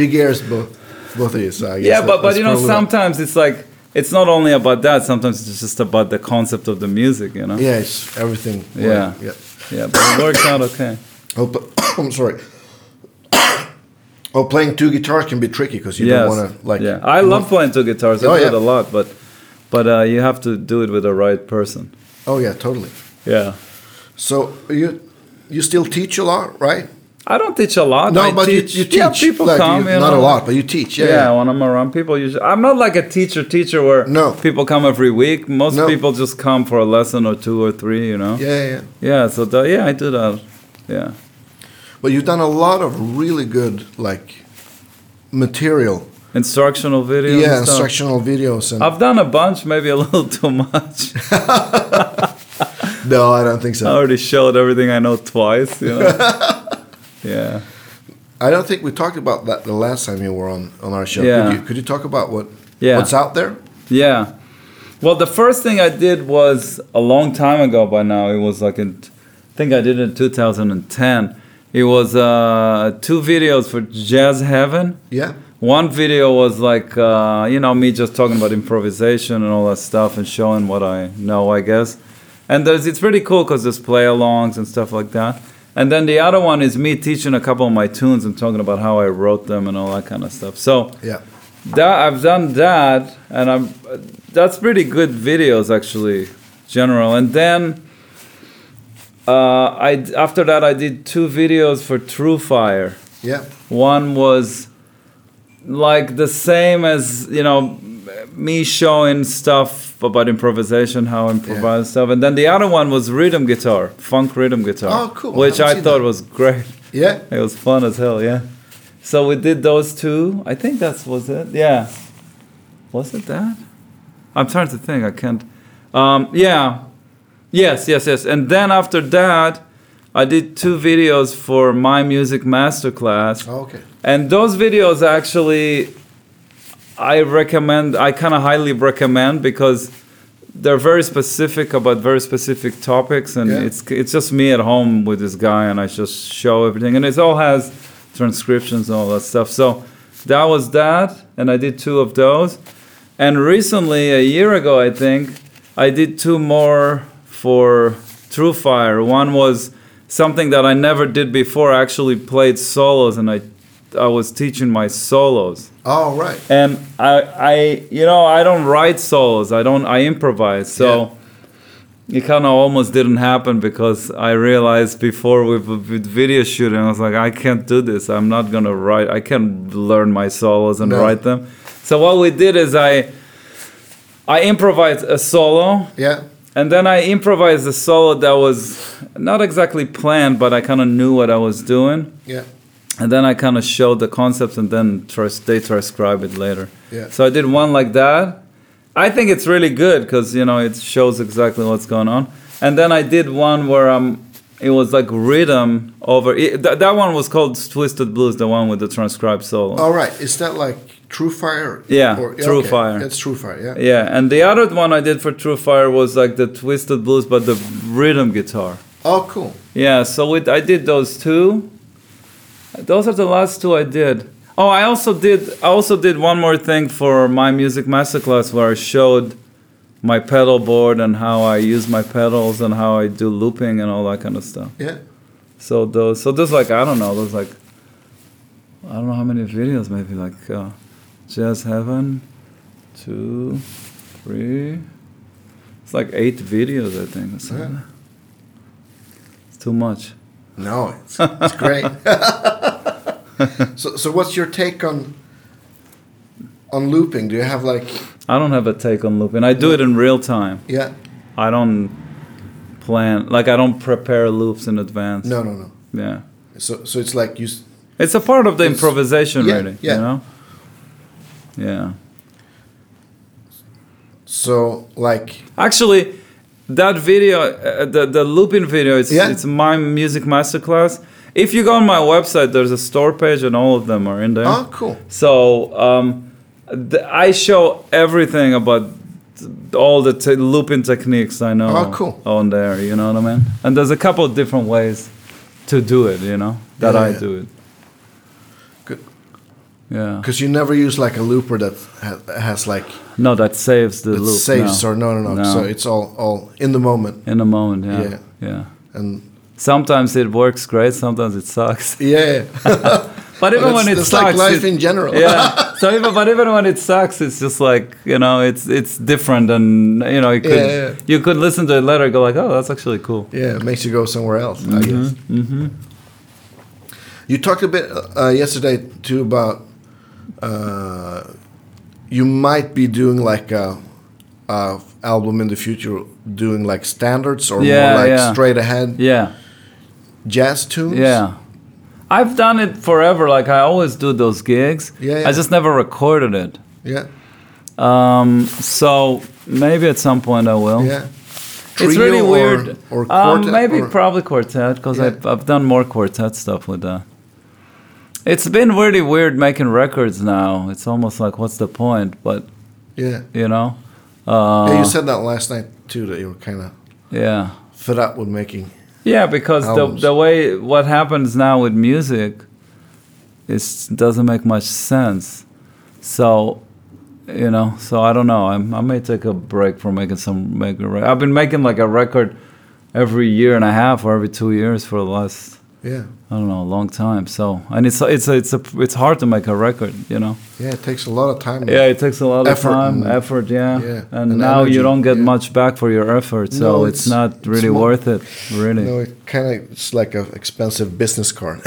big ears both both of you. So I guess yeah that- but but that's you know probably- sometimes it's like it's not only about that sometimes it's just about the concept of the music you know yeah, Yeah, it's everything. Yeah. yeah. but it works out okay Oh, pl- I'm sorry. oh, playing two guitars can be tricky because you yes. don't want to like. yeah i you love want- playing two guitars i Oh, do it a yeah. lot but but uh, you have to do it with the right person Oh yeah, totally. yeah So you you still teach a lot, right? I don't teach a lot. No, I but teach, you, you teach. Yeah, people like, come. you- you not know. a lot, but you teach. Yeah. Yeah, yeah. when I'm around, people usually. I'm not like a teacher. Teacher where No. people come every week. Most No. people just come for a lesson or two or three. You know. Yeah, yeah, yeah. Yeah. So the, yeah, I do that. Yeah. But you've done a lot of really good like material. Instructional videos. yeah, and stuff. Uh, instructional videos and I've done a bunch, maybe a little too much. no, I don't think I so. already showed everything I know twice. You know. yeah. I don't think we talked about that the last time you were on on our show. Yeah. Could, you, could you talk about what Yeah. what's out there? Yeah. Well, the first thing I did was a long time ago by now. It was like in, I think I did it in 2010. It was uh, two videos for Jazz Heaven. Yeah. One video was like, uh, you know, me just talking about improvisation and all that stuff and showing what I know, I guess. And there's, it's pretty cool because there's play alongs and stuff like that. And then the other one is me teaching a couple of my tunes and talking about how I wrote them and all that kind of stuff. So, Yeah. that I've done that, and I'm that's pretty good videos actually, general. And then uh, I after that I did two videos for True Fire. Yeah. One was like the same as you know me showing stuff about improvisation, how I improvise stuff, and then the other one was rhythm guitar, funk rhythm guitar, Oh, cool. I which haven't I seen thought that. was great. Yeah. It was fun as hell, yeah. So we did those two. I think that was it. Yeah. Was it that? I'm trying to think. I can't. Um, yeah. Yes, yes, yes. And then after that, I did two videos for my music masterclass. Oh, okay. And those videos actually, I recommend, I kind of highly recommend because they're very specific about very specific topics, and Yeah. it's it's just me at home with this guy, and I just show everything, and it all has transcriptions and all that stuff. So that was that, and I did two of those, and recently, a year ago, I think, I did two more for True Fire. One was something that I never did before. I actually played solos, and I I was teaching my solos. All right. And Um, I, I, you know, I don't write solos. I don't. I improvise. So it kind of almost didn't happen because I realized before with, with video shooting, I was like, I can't do this. I'm not gonna write. I can't learn my solos and No. write them. So what we did is I, I improvised a solo, Yeah. and then I improvised a solo that was not exactly planned, but I kind of knew what I was doing Yeah. and then I kind of showed the concepts, and then trans- they transcribe it later. Yeah. So I did one like that. I think it's really good because you know it shows exactly what's going on. And then I did one where um, it was like rhythm over. It, th- that one was called Twisted Blues, the one with the transcribed solo. All right. Is that like True Fire? Yeah, True okay. Fire. That's True Fire. Yeah. Yeah, and the other one I did for True Fire was like the Twisted Blues, but the rhythm guitar. Oh, cool. Yeah, so with, I did those two. Those are the last two I did. Oh, I also did I also did one more thing for my music masterclass where I showed my pedal board and how I use my pedals and how I do looping and all that kind of stuff. Yeah. So those so there's like I don't know there's like I don't know how many videos maybe like uh, Jazz Heaven, two, three. It's like eight videos, I think. It's, like- Yeah. it's too much. No, it's, it's great. so, so what's your take on on looping? Do you have like I don't have a take on looping. I do it in real time. yeah? I don't plan like I don't prepare loops in advance. No, no, no. Yeah. So, so it's like you. s- It's a part of the It's- improvisation yeah, really. yeah. You know? Yeah. So like Actually, that video, uh, the the looping video, it's Yeah. it's my music masterclass. If you go on my website, there's a store page, and all of them are in there. oh, cool. So um, th- I show everything about th- all the te- looping techniques I know. Oh, cool. On there, you know what I mean. And there's a couple of different ways to do it. You know that Yeah, I yeah. do it. Good. Yeah. Because you never use like a looper that ha- has like No, that saves the that loop. saves no. or no, no, no, No. So it's all all in the moment in a moment. Yeah. Yeah. yeah. and Sometimes it works great. Sometimes it sucks. yeah. But even That's- when it that's sucks, like life it- in general. yeah. So even but even when it sucks, it's just like you know, it's it's different, and you know, you could Yeah, yeah. you could listen to it later, and go like, oh, that's actually cool. Yeah, it makes you go somewhere else. I guess. Mm-hmm. You talked a bit uh, yesterday too about uh, you might be doing like a, a album in the future, doing like standards or Yeah, more like yeah. straight ahead Yeah, jazz tunes. yeah. I've done it forever. Like I always do those gigs. Yeah, yeah. I just never recorded it. yeah, Um, so maybe at some point I will. yeah. Oh. It's Trio really or- weird. Or um, quartet maybe or- probably quartet because Yeah. I've, I've done more quartet stuff with that. It's been really weird making records now. It's almost like what's the point? But yeah. you know, yeah, you uh, said that last night too that you were kind of yeah, fed up with making. yeah. Because the Albums. the way what happens now with music is doesn't make much sense. So. You know, so I don't know. I'm, I may take a break from making some. Make a re- I've been making like a record every year and a half or every two years for the last Yeah, I don't know, a long time. So, and it's it's it's a, it's hard to make a record, you know. yeah. It takes a lot of time. Yeah, it takes a lot Effort of time, and- effort, yeah. yeah, And, and now energy, you don't get yeah. much back for your effort, so No, it's, it's- not it's really not- worth it, really. No, it kind of it's like an expensive business card.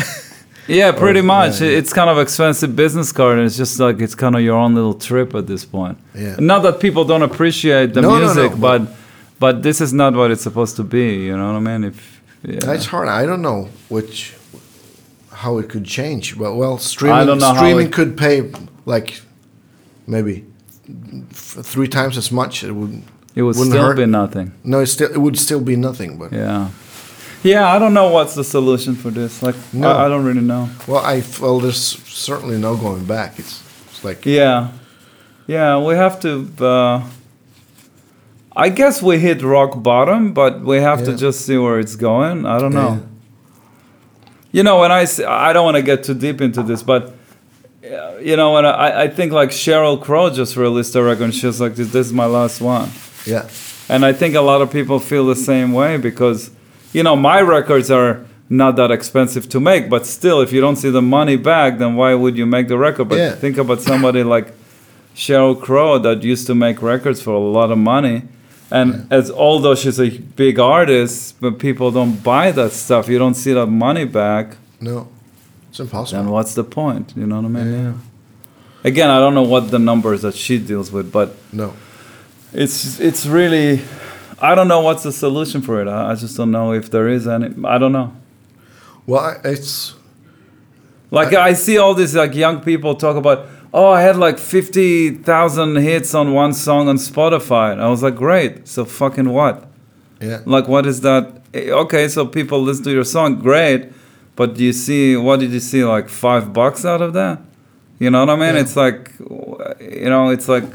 yeah, pretty yeah, much. Oh, yeah. It- It's kind of expensive business card, and it's just like it's kind of your own little trip at this point. Yeah. Not that people don't appreciate the No, no, no, music, but- but but this is not what it's supposed to be. You know what I mean? If yeah. It's hard. I don't know which how it could change, but well, streaming don't know how streaming it- could pay like maybe f- three times as much. It would. it would wouldn't still hurt. be nothing. No, it still it would still be nothing. But Yeah. Yeah, I don't know what's the solution for this. Like, No. I, I don't really know. well, I well, there's certainly no going back. It's, it's like Yeah. Yeah, we have to. Uh, I guess we hit rock bottom, but we have to Yeah. just see where it's going. I don't know. Yeah. You know, when I s- I don't want to get too deep into this, but. uh, You know, when I, I think like Cheryl Crow just released a record, and she's like, "This this is my last one." yeah, And I think a lot of people feel the same way because, you know, my records are not that expensive to make, but still, if you don't see the money back, then why would you make the record? But Yeah. think about somebody like Cheryl Crow that used to make records for a lot of money. And as although she's a big artist, but people don't buy that stuff, you don't see that money back, no, it's impossible. then what's the point? You know what I mean? Yeah. Again, I don't know what the numbers that she deals with, but No, it's it's really i don't know what's the solution for it i, I just don't know if there is any i don't know well, I- it's like I, see all these like young people talk about oh i had like 50000 hits on one song on spotify and i was like great so fucking what yeah, like what is that Eh, okay so people listen to your song great but do you see what did you see like five bucks out of that you know what i mean Yeah. it's like you know it's like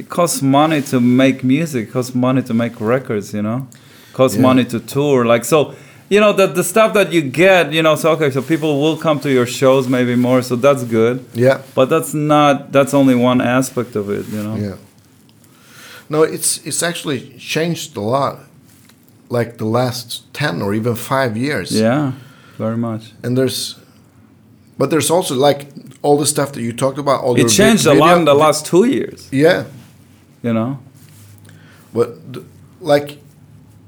it costs money to make music it costs money to make records you know costs Yeah. money to tour like so you know the, the stuff that you get you know so okay so people will come to your shows maybe more so that's good yeah. but that's not that's only one aspect of it you know Yeah. No, it's it's actually changed a lot, like the last ten or even five years. yeah very much And there's, but there's also like all the stuff that you talked about. All your it vi- changed a lot video- in the last two years Yeah, you know But th- like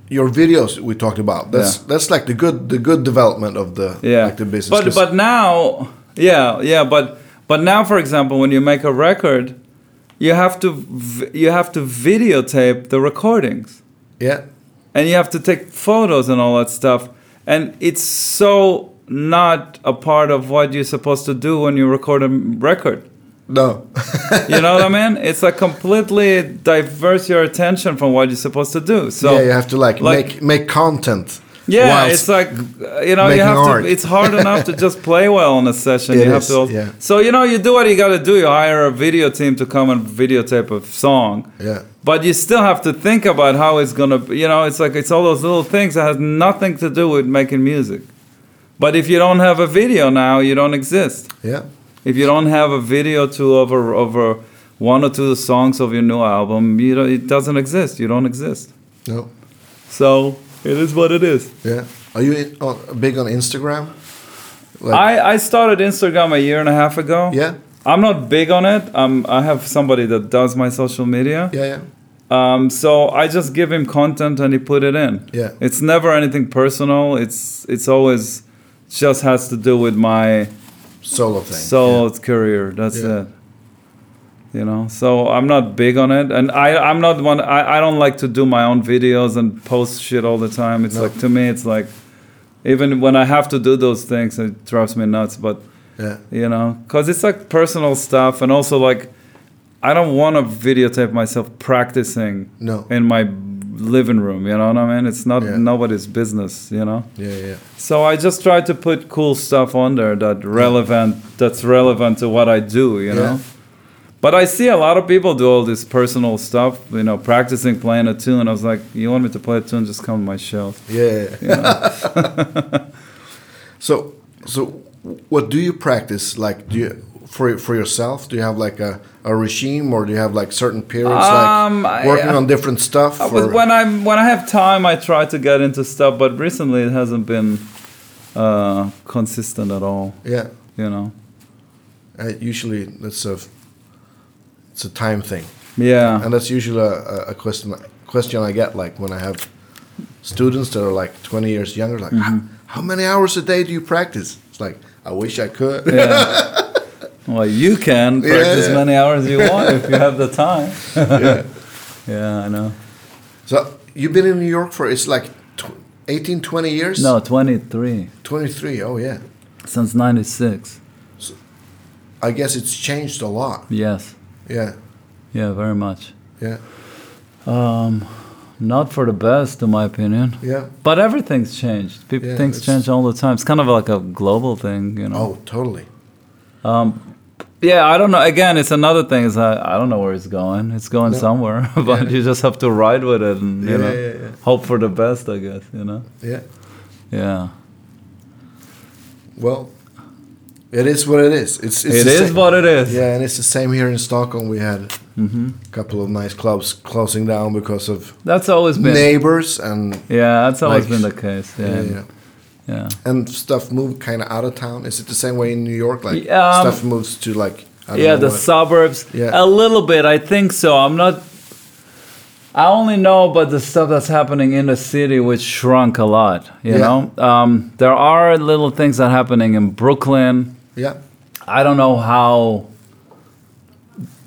your videos we talked about, that's Yeah. that's like the good the good development of the yeah. like the business. But 'cause- but now, yeah, yeah. But but now, for example, when you make a record, you have to v- you have to videotape the recordings, yeah, and you have to take photos and all that stuff. And it's so not a part of what you're supposed to do when you record a m- record. no, You know what I mean? It's like completely diverts your attention from what you're supposed to do. So yeah, you have to like, like- make make content. Yeah, whilst- it's like uh, you know you making have art. to. It's hard enough to just play well on a session. It you have is, to. also- yeah. So you know you do what you got to do. You hire a video team to come and videotape a song. Yeah. But you still have to think about how it's gonna. be- You know, it's like it's all those little things that has nothing to do with making music. But if you don't have a video now, you don't exist. yeah, If you don't have a video to over over one or two songs of your new album, you know it doesn't exist. You don't exist. no, So it is what it is. yeah. Are you in, on, big on Instagram? Like, I, I started Instagram a year and a half ago. yeah, I'm not big on it. Um, I have somebody that does my social media. yeah, yeah, Um, so I just give him content and he put it in. Yeah. It's never anything personal. It's it's always just has to do with my solo thing. solo career. That's Yeah. it. You know, so I'm not big on it, and I I'm not one. I, I don't like to do my own videos and post shit all the time. It's No. like to me, it's like even when I have to do those things, it drives me nuts. But yeah, you know because it's like personal stuff and also like i don't want to videotape myself practicing No. in my living room you know what i mean it's not Yeah. nobody's business you know yeah, yeah, yeah. so i just try to put cool stuff on there that relevant that's relevant to what i do you know but i see a lot of people do all this personal stuff you know practicing playing a tune i was like you want me to play a tune just come to my show Yeah. so so what do you practice like do you for for yourself do you have like a, a regime or do you have like certain periods Um, like I- working I- on different stuff Uh, or- But when I when I have time, I try to get into stuff. But recently, it hasn't been uh, consistent at all. yeah You know. I, usually that's a it's a time thing Yeah. and that's usually a, a, a question question I get like when I have students that are like 20 years younger like Mm-hmm. "How- how many hours a day do you practice it's like I wish I could yeah. Well, you can Yeah, practice yeah. many hours you want if you have the time. Yeah. yeah, I know. So you've been in New York for it's like tw- 18, 20 years? No, 23 23, oh yeah. since 96. I guess it's changed a lot. Yes. Yeah, Yeah, very much. yeah, Um, not for the best, in my opinion. yeah. But everything's changed. People, Yeah, things it's- change all the time. It's kind of like a global thing, you know. Oh, totally. Um, Yeah, I don't know. Again, it's another thing. Is I, I don't know where it's going. It's going somewhere, but you just have to ride with it and Yeah, you know yeah, yeah. hope for the best. I guess you know. Yeah. Yeah, Well, it is what it is. It's, it's it the is same- what it is. Mm-hmm. Yeah, and it's the same here in Stockholm. We had a couple of nice clubs closing down because of That's always been. neighbors and yeah, that's always Like- been the case. Yeah, yeah, yeah. yeah. and stuff moved kind of out of town. Is it the same way in New York? Like Yeah, um, stuff moves to like I don't yeah know the what- suburbs Yeah. a little bit i think so i'm not i only know about the stuff that's happening in the city which shrunk a lot you Yeah. know um, there are little things that happening in brooklyn yeah i don't know how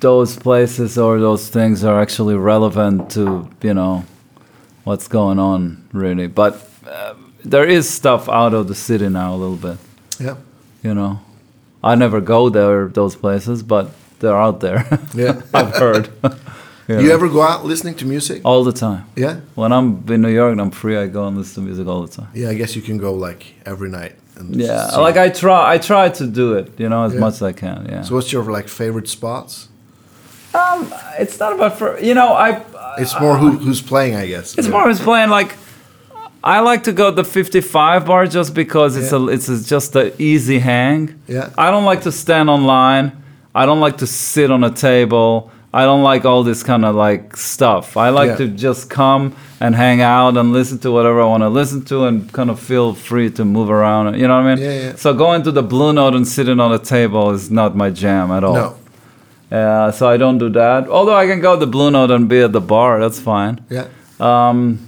those places or those things are actually relevant to you know what's going on really but uh, there is stuff out of the city now a little bit yeah you know i never go there those places but they're out there yeah. i've heard Do you ever go out listening to music? all the time Yeah. when i'm in new york and i'm free i go and listen to music all the time Yeah, I guess you can go like every night. And yeah see. like i try i try to do it you know as Yeah. much as i can yeah So what's your like favorite spots? um it's not about for you know i It's more who who's playing, I guess. Uh, it's Yeah. more as playing like I like to go to the 55 bar just because it's a Yeah. it's a, just an easy hang. Yeah. I don't like to stand on line. I don't like to sit on a table. I don't like all this kind of like stuff. I like Yeah. to just come and hang out and listen to whatever I want to listen to and kind of feel free to move around. You know what I mean? Yeah, yeah. So going to the Blue Note and sitting on a table is not my jam at all. No. Uh, so I don't do that. Although I can go to the Blue Note and be at the bar, that's fine. Yeah. Um,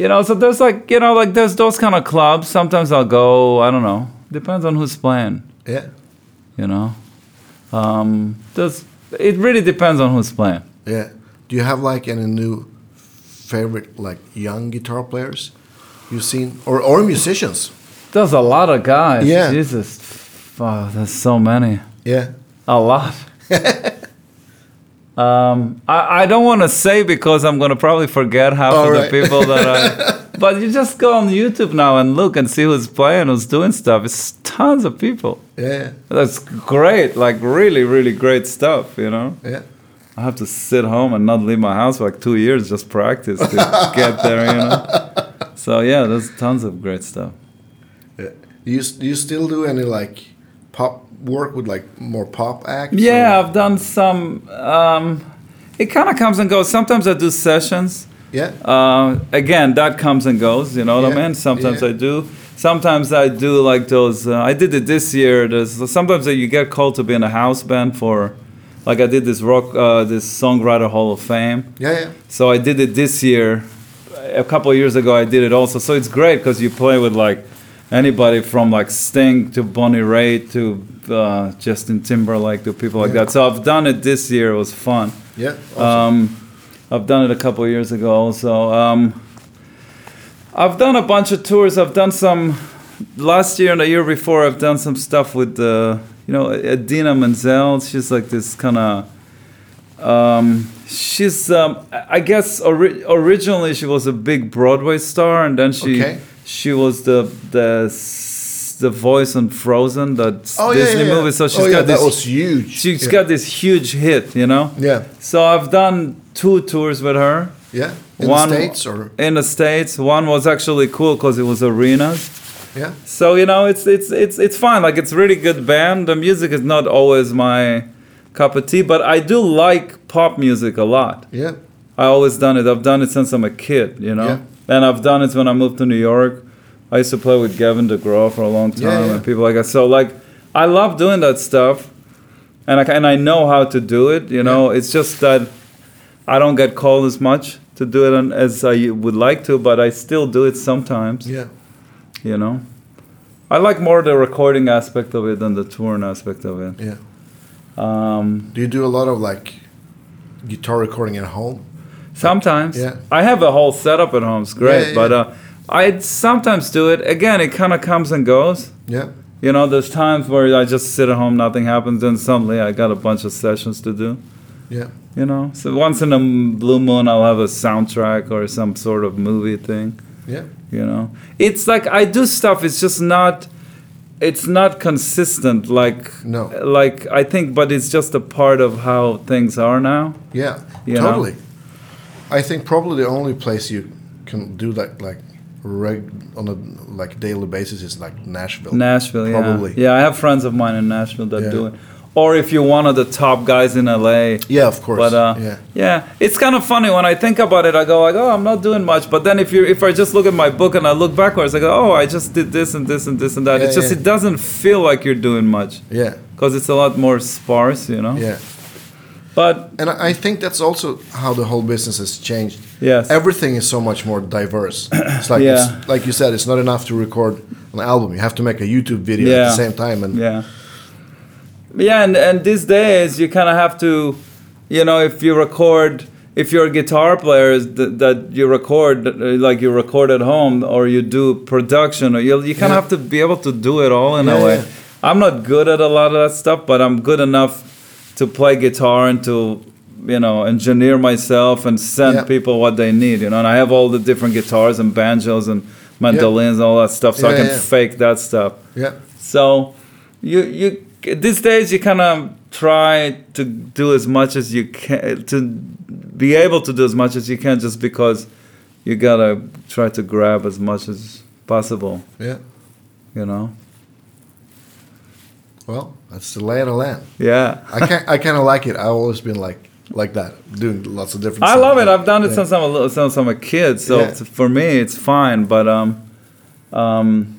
you know, so there's like, you know, like there's those kind of clubs. Sometimes I'll go, I don't know. Depends on who's playing, Yeah. you know. Um, there's, it really depends on who's playing. Yeah. Do you have like any new favorite like young guitar players you've seen or or musicians? There's a lot of guys. Yeah. Jesus. Wow, there's so many. Yeah. A lot. um, I, I don't want to say because I'm going to probably forget half All of right. the people that I. but you just go on YouTube now and look and see who's playing, who's doing stuff. It's tons of people. Yeah. That's great. Like, really, really great stuff, you know? Yeah. I have to sit home and not leave my house for like two years just practice to get there, you know? So, yeah, there's tons of great stuff. yeah. Do Uh, you s- do you still do any like pop work with like more pop acts? or- Yeah, I've done some. Um, it kind of comes and goes. Sometimes I do sessions. Yeah. Uh, again, that comes and goes. You know what Yeah, I mean? Sometimes yeah. I do. Sometimes I do like those. Uh, I did it this year. There's sometimes that you get called to be in a house band for, like I did this rock, uh, this songwriter Hall of Fame. Yeah. Yeah. So I did it this year. A couple of years ago, I did it also. So it's great because you play with like anybody from like Sting to Bonnie Raitt to uh, Justin Timberlake to people like Yeah. that. So I've done it this year. It was fun. Yeah. Awesome. Um, I've done it a couple of years ago also. Um, I've done a bunch of tours. I've done some last year and the year before. I've done some stuff with uh, you know Adina Menzel. She's like this kind of. Um, she's um, I I guess ori- originally she was a big Broadway star, and then she Okay. she was the the s- the voice on Frozen, that oh yeah, Disney yeah, yeah. movie. So she's oh, yeah, got that this was huge. She's yeah. got this huge hit, you know. Yeah. So I've done two tours with her. Yeah. In One- the states or In the states, one was actually cool because it was arenas. yeah. So you know, it's it's it's it's fine. Like it's really good band. The music is not always my cup of tea, but I do like pop music a lot. Yeah. I always done it. I've done it since I'm a kid, you know. And I've done it when I moved to New York. I used to play with Gavin DeGraw for a long time Yeah, yeah. and people like that. So like, I love doing that stuff, and I ca- and I know how to do it. You know, it's just that I don't get called as much to do it on- as I would like to, but I still do it sometimes. Yeah. You know, I like more the recording aspect of it than the touring aspect of it. Yeah. Um, Do you do a lot of like guitar recording at home? Sometimes. Yeah. I have a whole setup at home. It's great, yeah, but yeah. uh, I sometimes do it. Again, it kind of comes and goes. Yeah. You know, there's times where I just sit at home, nothing happens, and suddenly I got a bunch of sessions to do. Yeah. You know, so once in a m- blue moon, I'll have a soundtrack or some sort of movie thing. Yeah. You know, it's like I do stuff. It's just not. It's not consistent, like No. like I think, but it's just a part of how things are now. Yeah, You know? totally. I think probably the only place you can do that like reg on a like daily basis is like Nashville. Nashville, yeah. Probably. Yeah, I have friends of mine in Nashville that Yeah. do it. Or if you're one of the top guys in LA. yeah, of course. But uh, yeah, yeah. it's kind of funny when I think about it. I go like, oh, I'm not doing much. But then if you if I just look at my book and I look backwards, I go, oh, I just did this and this and this and that. Yeah, it's just yeah. it doesn't feel like you're doing much yeah, because it's a lot more sparse, you know. yeah. But And I I think that's also how the whole business has changed. yes, Everything is so much more diverse. It's like Yeah. it's, like you said, it's not enough to record an album. You have to make a YouTube video at the Yeah. same time. And Yeah. Yeah, and, and these days you kind of have to, you know, if you record, if you're a guitar player that, that you record, uh, like you record at home or you do production, or you, you kind of Yeah. have to be able to do it all in Yeah, a way. yeah. I'm not good at a lot of that stuff, but I'm good enough to play guitar and to, you know, engineer myself and send Yeah. people what they need, you know, and I have all the different guitars and banjos and mandolins and all that stuff, so Yeah, I can yeah. fake that stuff. yeah, So you you these days you kind of try to do as much as you can to be able to do as much as you can just because you gotta try to grab as much as possible. yeah. You know? Well, that's the lay of the land. Yeah. I can I kind of like it. I've always been like like that, doing lots of different. I stuff. love it. I've done it Yeah. since I'm a little, since I'm a kid. So Yeah. t- for me, it's fine. But um, um,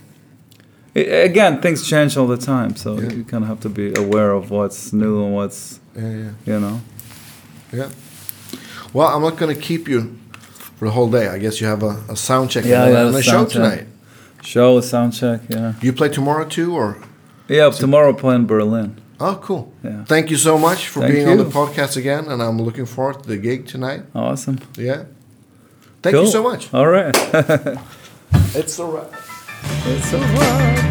I- again, things change all the time, so you kind of have to be aware of what's new and what's Yeah, yeah, you know. yeah. Well, I'm not going to keep you for the whole day. I guess you have a, a sound check Yeah, and, yeah, and a show sound check. tonight. Show sound check, yeah. You play tomorrow too, or? Yeah, tomorrow playing Berlin. Oh, cool. Yeah. Thank you so much for Thank being on the you. podcast again, and I'm looking forward to the gig tonight. Awesome. Yeah. Thank you Cool. so much. All right. It's the wrap. it's a wrap.